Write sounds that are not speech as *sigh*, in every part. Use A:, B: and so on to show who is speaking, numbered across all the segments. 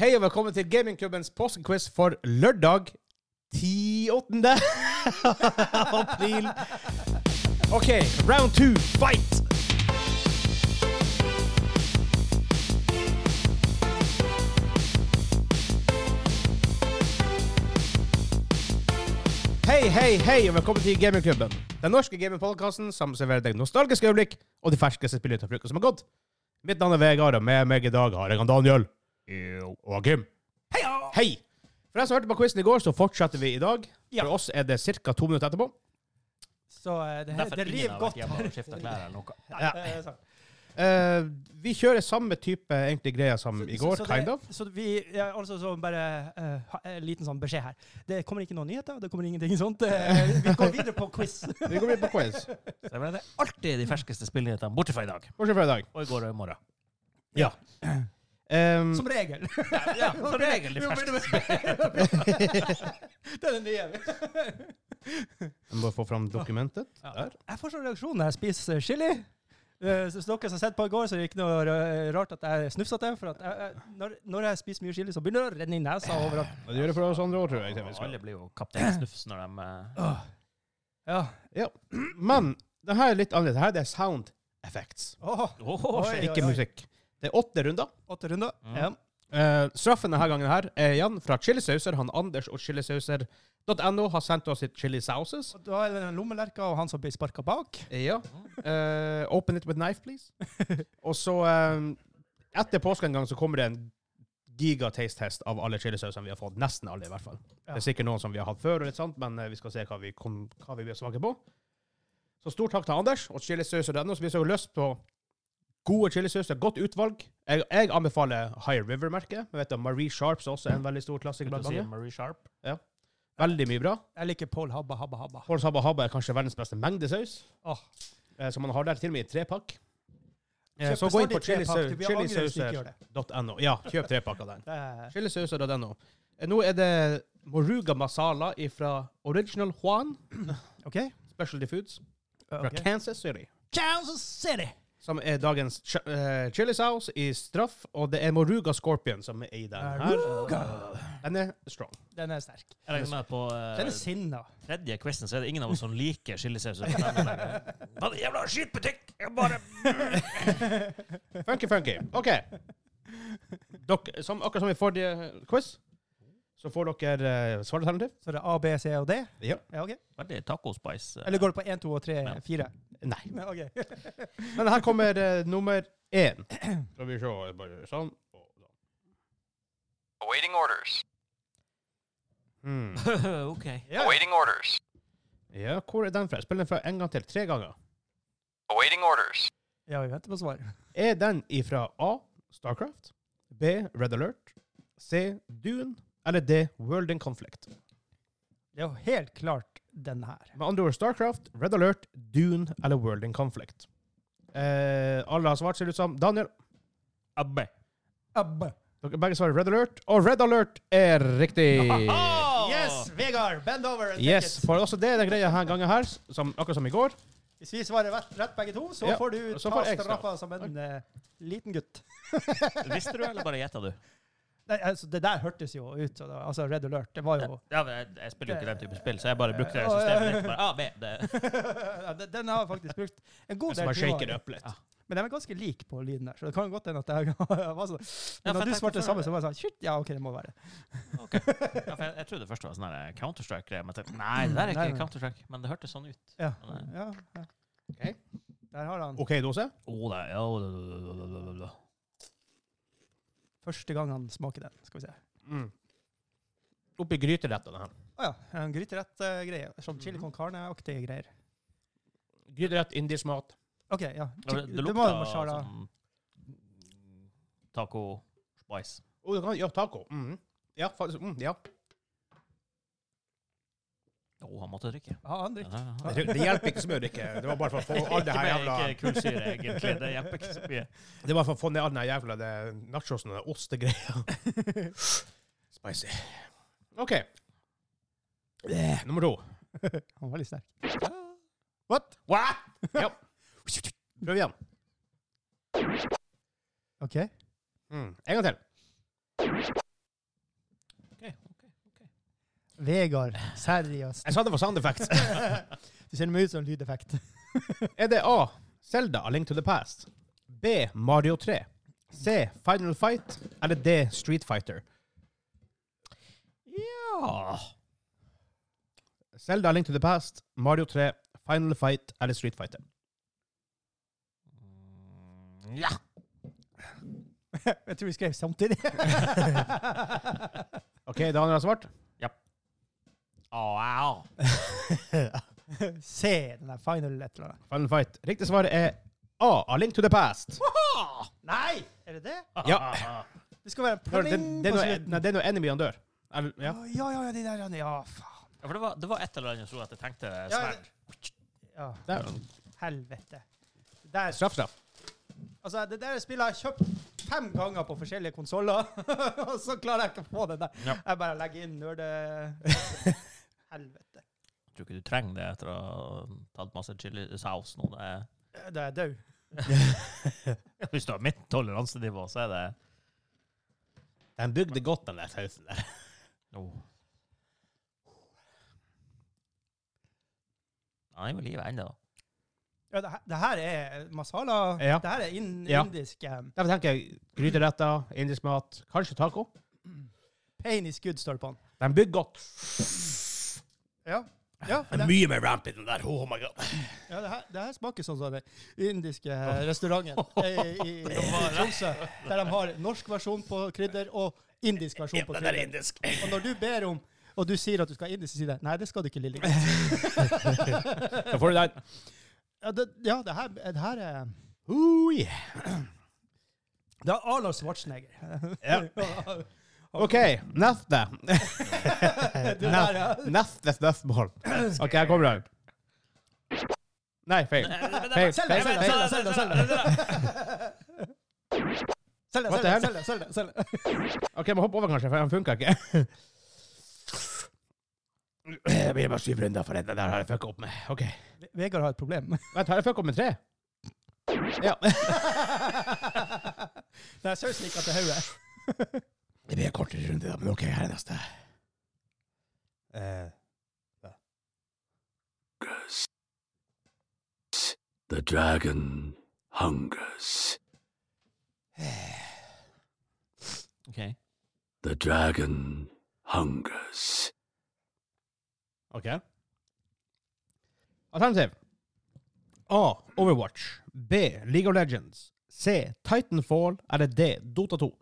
A: Hei og velkommen til gamingklubbens påskequiz for lørdag 10.8. *laughs* april. OK, round two, fight! Hei, hei, hei, og velkommen til Gamingklubben. Den norske gamingpodkasten som serverer deg nostalgiske øyeblikk og de ferskeste spillene fra uka som har gått. Mitt navn er Vegard, og med meg i dag har jeg han Daniel. Og Kim. Hei! For deg som hørte på quizen i går, så fortsetter vi i dag.
B: Ja.
A: For oss er det ca. to minutter etterpå.
B: Så eh, det,
C: Derfor
B: det
C: ingen
B: river
C: har vært
B: godt. sånn.
C: hjemme og
B: *laughs*
C: skiftet klær eller noe.
B: Nei,
A: Ja.
B: det er sant.
A: Eh, vi kjører samme type egentlig greier som Mm, i går,
B: så, så
A: kind
B: det,
A: of.
B: Så vi, ja, altså så bare eh, ha- en liten sånn beskjed her. Det kommer ikke noen nyheter, det kommer ingenting
A: *laughs*
B: sånt. Eh, vi går videre på quiz.
A: Vi går videre på quiz.
C: Så det er alltid de ferskeste spillnyhetene, bortsett fra i dag.
A: Bortsett fra i dag.
C: Og i går og i morgen.
A: Ehm,
B: Som regel.
C: *laughs* Ja,
B: *laughs*
C: som regel de ferskeste
B: Det er den nye.
A: jeg må få fram dokumentet.
B: Ja.
A: Der.
B: Jeg får sånn reaksjon når jeg spiser eh, chili. Eh, så hvis dere som har sett på i går, så er det ikke noe ra- rart at jeg snufser til. For at jeg, jeg, når, når jeg spiser mye chili, så begynner det å renne i nesa overalt.
A: Og det gjør det for oss andre år, tror jeg. til vi skal.
C: Alle blir jo *clears throat* kaptein Snufs når de eh,
B: Ja.
A: Men det her er litt annerledes. Her er det sound effects,
B: Åh,
C: Åh,
B: Oi,
C: shit.
A: ikke musikk. Det er åtte runder.
B: åtte runder.
C: Mm.
B: Ja.
A: Eh, straffen denne gangen her er igjen fra chilisauser. Han Anders og chilisauser.no har sendt oss sitt chili sauces.
B: Og da er det den lommelerka og han som blir sparka bak.
A: Ja. Eh, open it with knife, please. og så eh, Etter påske en gang så kommer det en giga taste test av alle chilisausene vi har fått. Nesten alle, i hvert fall.
B: Ja.
A: Det er sikkert noen som vi har hatt før, og litt sånt, men eh, vi skal se hva vi, kom, hva vi blir svake på. Så stor takk til Anders og chilisauser.no, som vi har lyst på gode chilisauser. Godt utvalg. Jeg, jeg anbefaler High River-merket. Jeg vet at Marie Sharps også er en veldig stor klassiker
C: Skulle
A: blant
C: du si
A: mange.
C: Marie Sharp?
A: Veldig mye bra.
B: Jeg liker Paul Habba Habba Habba.
A: Håls Habba Habba er kanskje verdens beste mengde saus,
B: Åh.
A: eh, som man har der til og med i trepakk. Eh,
B: Kjøp
A: så gå inn på
B: bestandig trepakk. Du blir angrer hvis du ikke gjør det.
A: chilisauser.no. Ja, kjøp trepakk *laughs* av den.
B: Det er-
A: Chilisauser.no. Eh, Nå er det Moruga Masala fra Original *clears throat* Juan
B: OK?
A: Specialty Foods fra
B: okay.
A: Kansas City.
B: Kansas City!
A: Som er dagens ch eh, chilisaus i straff, og det er Moruga Scorpion som er i den her. Den er strong.
B: Den er sterk.
C: Jeg regner med på eh,
B: Den er sinna.
A: *laughs*
C: tredje quizen så er det ingen av oss som liker chilisauser. Hva er det jævla skittbutikk? Jeg bare
A: Funky, funky. OK. Dere, som, akkurat som i forrige quiz, så får dere uh, svaralternativ.
B: Så det er A, B, C og D?
A: Ja.
B: Ja, ok.
C: *laughs* Veldig tacospice. eh.
B: Eller går det på 1, 2 og 3,
C: Ja.
B: 4?
A: Nei.
B: Ja, *laughs* ok.
A: Men her kommer eh, nummer én. Skal vi se bare sånn. og sånn.
D: Awaiting orders.
A: Hmm.
C: *laughs* OK.
B: Ja.
D: Awaiting orders.
A: Ja, hvor er den fra? Spill den fra en gang til. Tre ganger.
D: Awaiting orders.
B: ja, vi venter på svar.
A: Er den ifra A. Starcraft, B. Red Alert, C. Dune eller D. World in Conflict?
B: Det er jo helt klart den her.
A: Med andre ord Starcraft, Red Alert, Dune eller World in Conflict. Eh, alle har svart, ser det ut som. Daniel,
C: Abbe.
B: Abbe.
A: dere begge svarer Red Alert, og Red Alert er *laughs* riktig!
B: Yes, Vegard! Bend over and take
A: Ah. Yes,
B: it.
A: for også det er den greia her gangen her, som, akkurat som i går.
B: Hvis vi svarer rett, rett begge to, så
A: Ja,
B: får du
A: så
B: ta
A: får jeg
B: straffa som en eh, liten gutt.
C: Visste du, eller bare gjetta du?
B: Nei, altså, det der hørtes jo ut som altså, Red Alert. Det var
C: *laughs*
B: jo
C: Ja, men jeg, jeg spiller jo ikke den type spill, så jeg bare brukte det
B: Ja, ja, ja.
C: systemet litt. Bare, ah, B, det.
B: Ja, den- Den har jeg faktisk brukt en god
A: Som
B: del
A: har shaker
B: timer.
A: det opp litt.
B: Men de er ganske like på lyden der, så det kan godt hende at jeg *laughs* var sånn. Men når
C: Ja, for jeg
B: du
C: tenkte
B: svarte det
C: før-
B: samme, så var jeg sånn Shit, ja, OK, det må være det.
C: Ok. Ja, for jeg, jeg trodde først det var sånn her Counter-Strike-greie. Men jeg tenkte, nei, det der
B: Nei,
C: er ikke
B: nei.
C: Counter-Strike. Men det hørtes sånn ut.
B: Ja.
C: Nei.
B: ja, ja.
A: Ok.
B: Der har han.
A: OK, dose?
C: Oh, det, ja, oh, da, da, da, da, da, da.
B: Første gang han smaker den. Skal vi se.
A: Mm. Oppi gryterettene her.
B: Å ja. En gryterett-greie. Sånn
C: Mhm.
B: chili con carne-aktige greier.
A: Gryterett, indisk mat.
B: OK, ja.
C: Ja, Det, det
B: Du må
C: lukta
B: ha masala.
C: sånn taco spice.
A: Oh, det kan, ja, taco. Mhm. Ja, faktisk. Mm, ja.
C: Å, han måtte drikke.
B: Ja, han drikker.
C: Ja, ja, ja.
A: Det, det hjelper ikke smør, ikke. Det var bare for å *laughs* få all det her
C: Ikke med-
A: jævla
C: Ikke kullsyre, egentlig. Det hjelper ikke så mye.
A: Det var for å få ned all den her jævla det nachosen og den ostegreia. *laughs* Spicy. OK. Eh, Nummer to.
B: Han var litt sterk.
A: What? What? *laughs* Ja. Prøv igjen.
B: OK.
A: Mm. En gang til.
C: Ok, ok, ok.
B: Vegard, seriøst.
A: Jeg sa det var sound effects. *laughs*
B: Du ser meg ut som en lydeffekt. *laughs*
A: Er det A. Zelda A Link to the Past? B. Mario 3? C. Final Fight? Eller D. Street Fighter?
C: Ja
A: Zelda A Link to the Past, Mario 3, Final Fight eller Street Fighter?
C: Mm, Ja.
B: Jeg tror vi skrev samtidig.
A: OK, Daniel har svart.
C: Au, au.
B: Se den der final et eller annet.
A: Final Fight. Riktig svar er A. A Link to the Past.
B: Nei! Er det det?
A: Ah. Ja.
B: Det skal være en
A: Når Det,
B: pling
A: det, er
B: på
A: når-
B: slutten.
A: nei, det er når enemyene dør. Eller, ja.
B: Ja, ja, ja, de der Ja, faen.
C: Ja, for det var, det var et eller annet som gjorde at jeg tenkte
B: Ja,
C: sverd.
B: Ja,
A: Der.
B: helvete. Det der,
A: Straff, straff.
B: altså, det der spillet har jeg kjøpt fem ganger på forskjellige konsoller, *laughs* og så klarer jeg ikke å få det der.
C: Ja.
B: Jeg bare legger inn nerde...
A: *laughs*
B: helvete.
C: Jeg tror ikke du trenger det etter å ha tatt masse chili saus nå. Det er,
B: Da er jeg død.
C: hvis du har mitt toleransenivå, så er det
A: Den bygde godt, den der sausen der.
C: oh. Han er jo i live ennå, da.
B: Ja, det, her- det her er masala.
A: Ja.
B: Det her er in,
A: Ja.
B: indisk um,
A: Derfor tenker jeg gryteretter, indisk mat, kanskje taco.
B: pain is good, står det på den.
A: Den bygger godt.
B: Ja. Ja, for det,
A: Mye mer ramp i den der. Oh my god.
B: ja, det, her, det her smaker sånn som den indiske restauranten
A: *laughs*
B: eh, i, i Tromsø, der de har norsk versjon på krydder og indisk versjon på krydder.
A: indisk.
B: Og når du ber om, og du sier at du skal ha indisk, så sier de nei, det skal du ikke, lille gutt.
A: *laughs* Da får du den.
B: Ja, det, ja, det, her, det her er
A: Oh, yeah.
B: Det er Arnold Schwarzenegger. *laughs*
A: Ja. OK, neste. *laughs*
B: Du der, ja.
A: Neste spørsmål. OK, jeg kommer her. Nei, feil. Feil,
B: Selda,
A: feil,
B: Selda,
A: feil.
B: Selda, Selda, Selda. Selda,
A: What the
B: Selda,
A: hell?
B: Selda, Selda, Selda.
A: OK, jeg må hoppe over, kanskje, for den funka ikke. Jeg blir bare syv runder for det. Det der har jeg fucka opp med. OK.
B: Ve- Vegard har et problem. *laughs*
A: Vent, har jeg fucka opp med tre? Ja.
B: Nei, sausen gikk til hodet.
A: Det blir en kortere runde, da, men OK, her er neste. Eh,
E: The dragon hungers.
C: OK.
E: The dragon hungers.
A: OK. Alternativ. A. Overwatch. B. League of Legends. C. Titanfall. Eller D. Dota 2.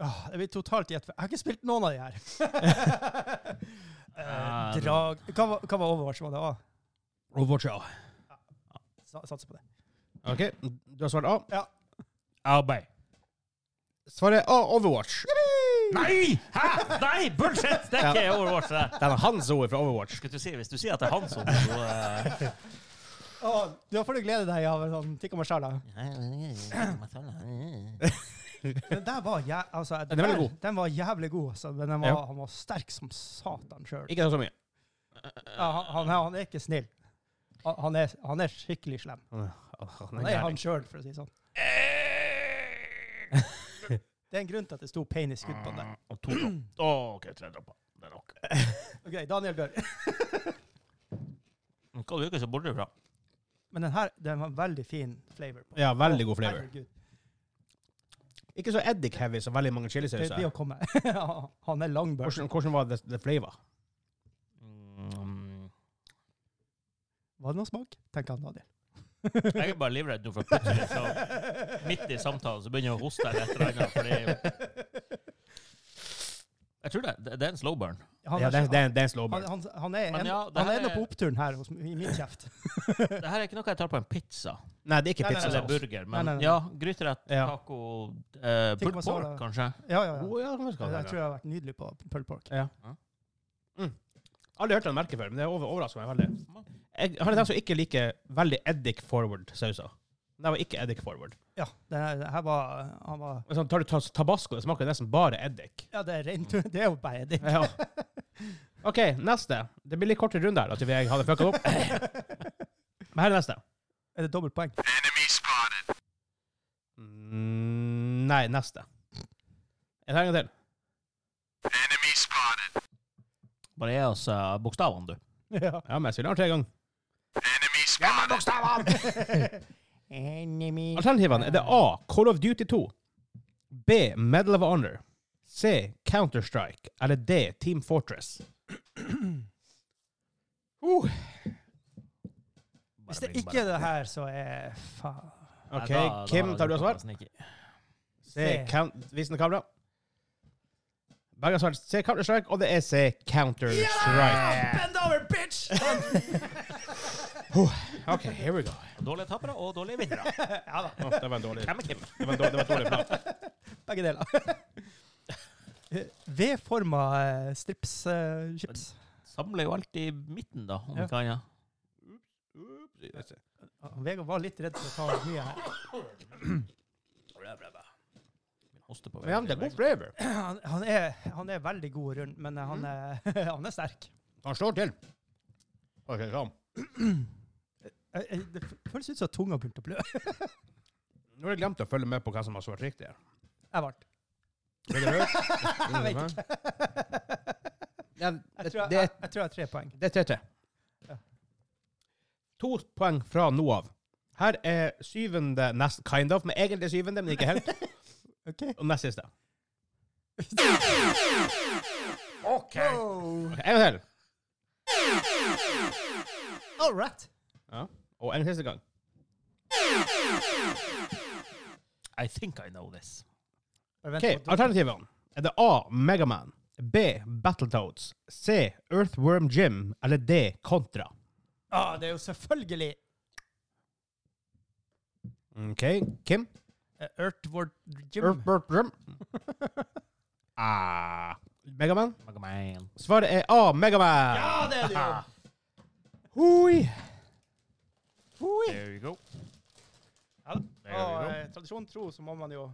B: Åh, det blir totalt gjett. Ah, Jeg har ikke spilt noen av de her.
A: *laughs*
B: *laughs*
A: Ah,
B: Eh, drag Hva var, hva var Overwatch? Var det A?
A: Overwatch, ja.
B: Sa- Satser på det.
A: OK, du har svart A.
B: Ja.
C: Arbeid.
A: Svaret er A. Overwatch.
C: Nei! Hæ? Nei, bullshit! Det er ikke Overwatch, det der.
A: Det er hans ord fra Overwatch.
C: Skal du si, hvis du sier at det er han som så, *clears throat* eh,
B: Åh, du har fått glede deg av en sånn tikka masala. Den der var jæ altså,
A: Den er veldig
B: der-
A: god.
B: Den var jævlig god, altså. Men den var,
A: Ja.
B: han var sterk som satan sjøl.
A: Ikke så mye.
B: Ja, han, han, er- han er ikke snill. Han, han, er, han er skikkelig slem. Han er han sjøl, for å si det sånn. Det er en grunn til at det sto pain is good på
A: Ah.
B: den der.
C: Og to dropp. Å, OK, tre dropper. Det er nok.
B: Ok, Daniel dør.
C: Hva du ikke så borte fra?
B: *laughs* Men den her, den var veldig fin flavor på.
A: Ja, veldig god flavor.
B: Herregud,
A: Ikke så eddik heavy som veldig mange
B: det blir
A: chilisauser.
B: å komme. *laughs* han er langbørn.
A: Hvordan, hvordan var det, det flavor?
C: Mm,
B: Var det noe smak? Tenker han Daniel.
C: jeg er bare livredd nå for plutselig så *laughs* midt i samtalen så begynner jeg å hoste eller et eller annet. For det er jo Jeg tror det, det det er en slow burn.
B: Han
A: Ja,
B: er,
A: det,
B: ikke-
A: det, er- det er en slow
B: han,
A: burn.
B: han, han er,
C: Men
B: en,
C: ja, det
B: han
C: her
B: er ennå
C: er-
B: på oppturen her hos, i min kjeft.
C: Det her er ikke noe jeg tar på en pizza
A: Nei, det er ikke
B: Nei, nei,
A: pizza.
C: eller
B: nei.
C: burger, men
B: Nei, nei, nei.
C: ja, gryterett,
A: Ja.
C: taco, eh,
B: Tikka
C: pulled pork,
B: masala.
C: kanskje.
B: Ja, ja, ja.
A: Oh, ja, det
B: Jeg,
A: skal
B: jeg tror
A: det.
B: jeg har vært nydelig på pulled pork.
A: Ja. Mm. Aldri hørt den merket før, men det over, overrasker meg veldig. Jeg har en del som ikke liker veldig eddik forward sauser. Det var ikke eddik forward.
B: Ja, det, det her var, han var
A: Men Sånn, tar du tas- tabasco, det smaker nesten bare eddik.
B: Ja, det er rent *laughs* Det er jo bare
C: *laughs*
B: det.
A: Ja. OK, neste. Det blir litt kortere runde her, da, til jeg hadde fucka opp. Men her er neste.
B: Er det dobbelt poeng?
E: Enemy spotted.
A: Mm, Nei, neste. Jeg trenger en til.
E: Enemy spotted.
C: Bare gi oss eh, bokstavene, du.
B: Ja.
A: Ja, men jeg sier den tre ganger.
E: Enemy spotted.
A: Alternativene er det A. Call of Duty 2. B. Medal of Honor. C. Counter-Strike. Eller D. Team Fortress.
B: *clears throat*
A: Uh,
B: Hvis
C: Bare
B: det
C: bring,
B: ikke er
C: bare-
B: det her, så er faen
A: OK,
C: Nei, da- da
A: Kim,
C: har
A: tar du og svar?
C: nesten ikke.
A: C.
B: C.
A: Count, visende kamera. Begge har svart C. Counter-Strike, og det er C. Counter-Strike.
B: Bend over, bitch!
A: OK, here we go.
C: Dårlige tapere og dårlige vinnere.
B: ja da.
A: Å, det var en dårlig
C: Hvem er Kim?
A: Det var en dårlig, det var en dårlig plan.
B: *laughs* Begge deler. *laughs* V-forma eh, strips eh, chips.
C: Samler jo alt i midten, da, om
B: Ja.
C: vi kan. Ja.
B: Ah, Vegard var litt redd for å ta mye her.
C: Hoste på
A: Men ja, det er god flavor.
B: Han, han, er, han er veldig god rundt, men eh, han er, *laughs* han er sterk.
A: Han slår til. OK, sånn.
B: Eh, eh, Det f- føles ut som at tunga begynte å blø.
A: Nå har jeg glemt å følge med på hva som har svart riktig. her.
B: *laughs* Jeg ble
A: Blir *laughs* det rødt?
B: *laughs* Jeg vet ikke.
A: Ja,
B: *laughs* Jeg
A: det,
B: tror jeg,
A: det,
B: jeg, jeg tror jeg har tre poeng.
A: det er 3-3.
B: Ja.
A: To poeng fra nå av. Her er syvende nest, kind of, men egentlig syvende, men ikke helt.
B: Ok.
A: Og nest siste.
C: OK!
A: Ok, en gang til.
B: All right.
A: Ja. Og en siste gang.
C: I think I know this.
B: Bare vent
A: Ok,
B: på-
A: Alternativene er det A. Megaman. B. Battletoads. C. Earthworm Gym. Eller D. Kontra.
B: Ah, det er jo selvfølgelig
A: OK, Kim?
B: eh, Earthward Gym.
A: Earthworm Gym. *laughs* Ah. Megaman?
C: Magaman.
A: Svaret er A. Megaman.
B: Ja, det
A: *laughs*
B: er det jo!
A: Hui.
B: Oi.
C: There you go.
B: Ja, da.
C: There you
B: Og,
C: go.
B: eh, tradisjonen tro så må man jo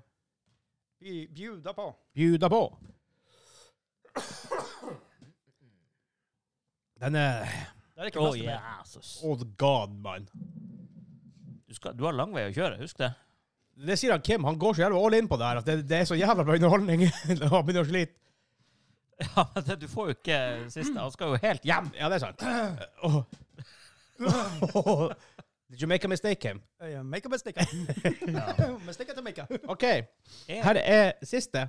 B: by, bjuda på.
A: Bjuda på. Den er
B: Det er ikke
C: Oh,
B: plass til mer.
C: Jesus.
A: Oh god, mann.
C: Du, skal, du har lang vei å kjøre, husk det. *laughs*
A: Det sier han Kim. Han går så jævla all in på det her. at Det, det er så jævla bra underholdning. *laughs* Han begynner å slite.
C: Ja, men det, Du får jo ikke siste. Han skal jo helt hjem.
A: Ja, det er sant. Åh. Åh. Did you make a mistake, Kim?
B: Eh, Make a
A: *laughs*
B: mistake. mistake to make.
A: OK. Her er siste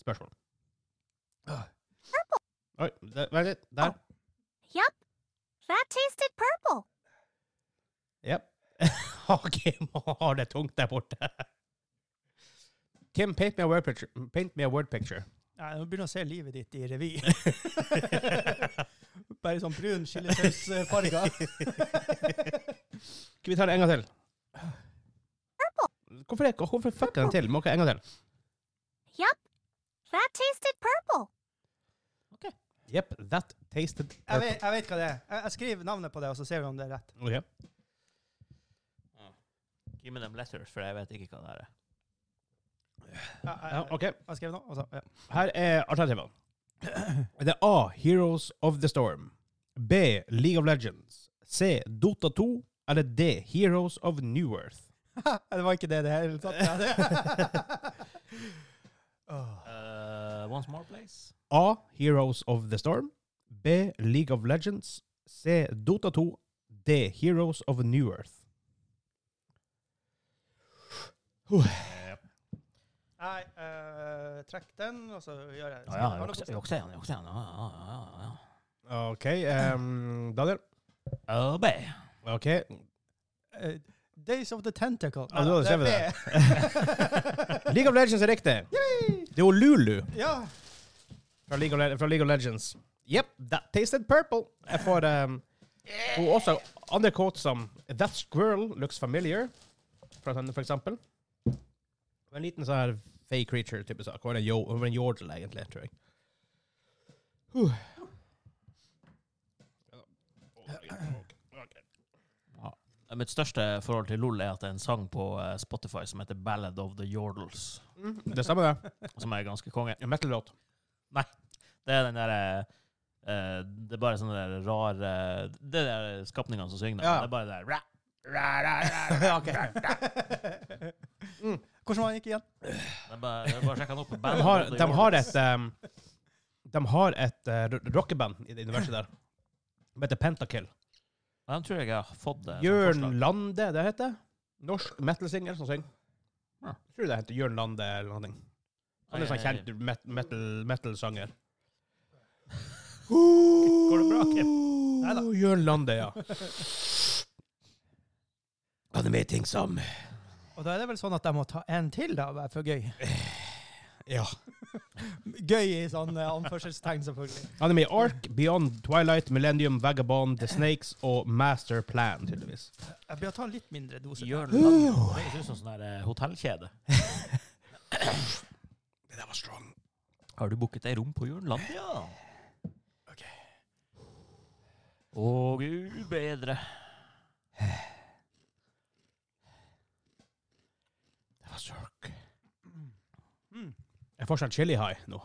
A: spørsmål. Oi, der, vent litt. Der.
F: Yep. That tasted purple.
A: *laughs* Ja. Kim har det tungt der borte. Kim, paint me a word picture. Paint me a word picture.
B: Nei, nå begynner jeg å se livet ditt i revy. *laughs* Bare sånn *laughs* brun chilisausfarge.
A: Skal vi ta det en gang til? Hvorfor, er- hvorfor fucker den til? Må ikke en gang til.
F: Yep. That tasted purple.
A: Yep, that tasted
B: Jeg, vet- jeg vet hva det er. Jeg, jeg skriver navnet på det, og så ser vi om det er rett.
A: Ok.
C: Give me them letters, for jeg vet ikke hva det her er.
B: Jeg, jeg,
A: Ja, ok.
B: jeg skrev nå, og så, ja.
A: Her er alternativene. Det er A. Heroes of the Storm. B. League of Legends. C. Dota 2. Eller D. Heroes of New Earth.
B: *laughs* Det var ikke det det hele tatt.
A: *laughs*
B: Ja, det. Åh.
C: Eh, once more, please.
A: A. Heroes of the Storm. B. League of Legends. C. Dota 2. D. Heroes of New Earth.
B: Nei, eh, trekk den, og så gjør jeg
C: Ja, ja, jukse- jukse igjen, jukse igjen. Ja, ja, ja, ja.
A: OK, um, Daniel.
C: AB.
A: OK.
B: Eh, Days of the Tentacle.
A: Ja, du hadde skrevet
B: er
A: *laughs*
B: B.
A: League of Legends er riktig. Det er jo Lulu
B: ja.
A: fra League of, Le fra League of Legends. Yep, that tasted purple. Jeg får um, og også andre quotes som That squirrel looks familiar, for, sånn- for eksempel. Det var En liten sånn her fey creature-type sak. Hun var en yo- hun var en yordle, egentlig, tror jeg. Huh.
C: Eh, Mitt største forhold til LOL er at det er en sang på eh, Spotify som heter Ballad of the Yordles,
A: Det stemmer, det.
C: som er ganske konge.
A: En metal-låt.
C: Det er den derre eh, Det er bare sånne der rare Det er de skapningene som synger. da.
A: Ja. *laughs*
C: Det er bare det der ra,
A: Ok.
B: Hvordan var han gikk igjen?
C: De bare, de bare sjekka han opp på
A: De
C: bandet.
A: har,
C: Det
A: de
C: gjorde
A: har
C: det.
A: et um, De har et uh, ro- rockeband i det universet der. De heter Pentakill.
C: Men De tror jeg jeg har fått det. som forslag.
A: Jørn Lande, det heter. Norsk metal-singer som synger. Jeg tror det heter Jørn Lande eller noe. Han er
C: Ai,
A: sånn
C: ai, ai.
A: kjent met- metal- metal-sanger.
B: Går det bra, Kim?
A: Neida. Jørn Lande, ja. Han er med i ting som
B: Og da er det vel sånn at jeg må ta en til, da, bare for gøy.
A: Ja.
B: *laughs* Gøy i sånn eh, anførselstegn, selvfølgelig.
A: Han er med i Ark, Beyond, Twilight, Millennium, Vagabond, The Snakes og Master Plan, tydeligvis.
B: Jeg bør ta en litt mindre dose.
C: Jørn Lande. Det høres ut som sånn der eh, hotellkjede.
A: Det der var strong.
C: Har du booket deg rom på Jørnlandia?
A: Ok.
C: Å, gud bedre.
A: Det var sørk. Jeg får sånn chili high nå.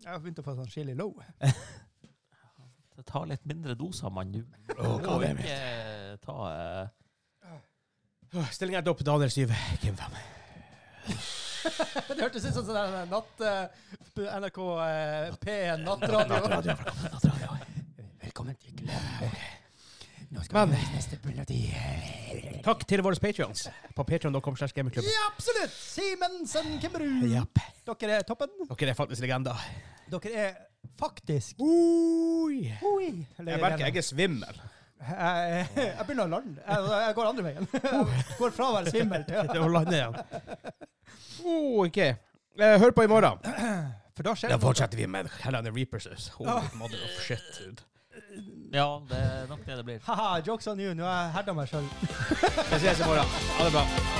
B: Jeg har begynt å få sånn chili low.
C: Det tar litt mindre doser, mann. Du
A: Åh,
C: må
A: god, jeg
C: ikke ta eh,
A: Stillingen er opp til Daniel 7. Kim 5.
B: Det hørtes ut som sånn der natt... eh, NRK eh, P1 nattradio. Velkommen til Gløb. Nå
A: Men-
B: høre neste melodi.
A: Takk til våre patrions på patreon.com slash gamingklubben.
B: Ja, absolutt! Simensen Kimmerud.
A: Japp.
B: Dere er toppen.
A: Dere er faktisk legender.
B: Dere er faktisk
A: Oi.
B: Oi!
A: Jeg merker jeg er svimmel.
B: Jeg, jeg begynner å lande. Jeg, jeg går andre veien. Jeg *laughs* går fra å være svimmel til
A: Det var landet igjen. Oh, ok. Eh, Hør på i morgen.
B: For da skjer
A: Da
B: det
A: fortsetter vi med Helene Reapers. Holy mother of shit, dude.
C: Ja, det er nok det det blir.
B: Haha, jokes on you. Nå har jeg herda meg sjøl.
A: Vi ses i morgen. Ha det bra.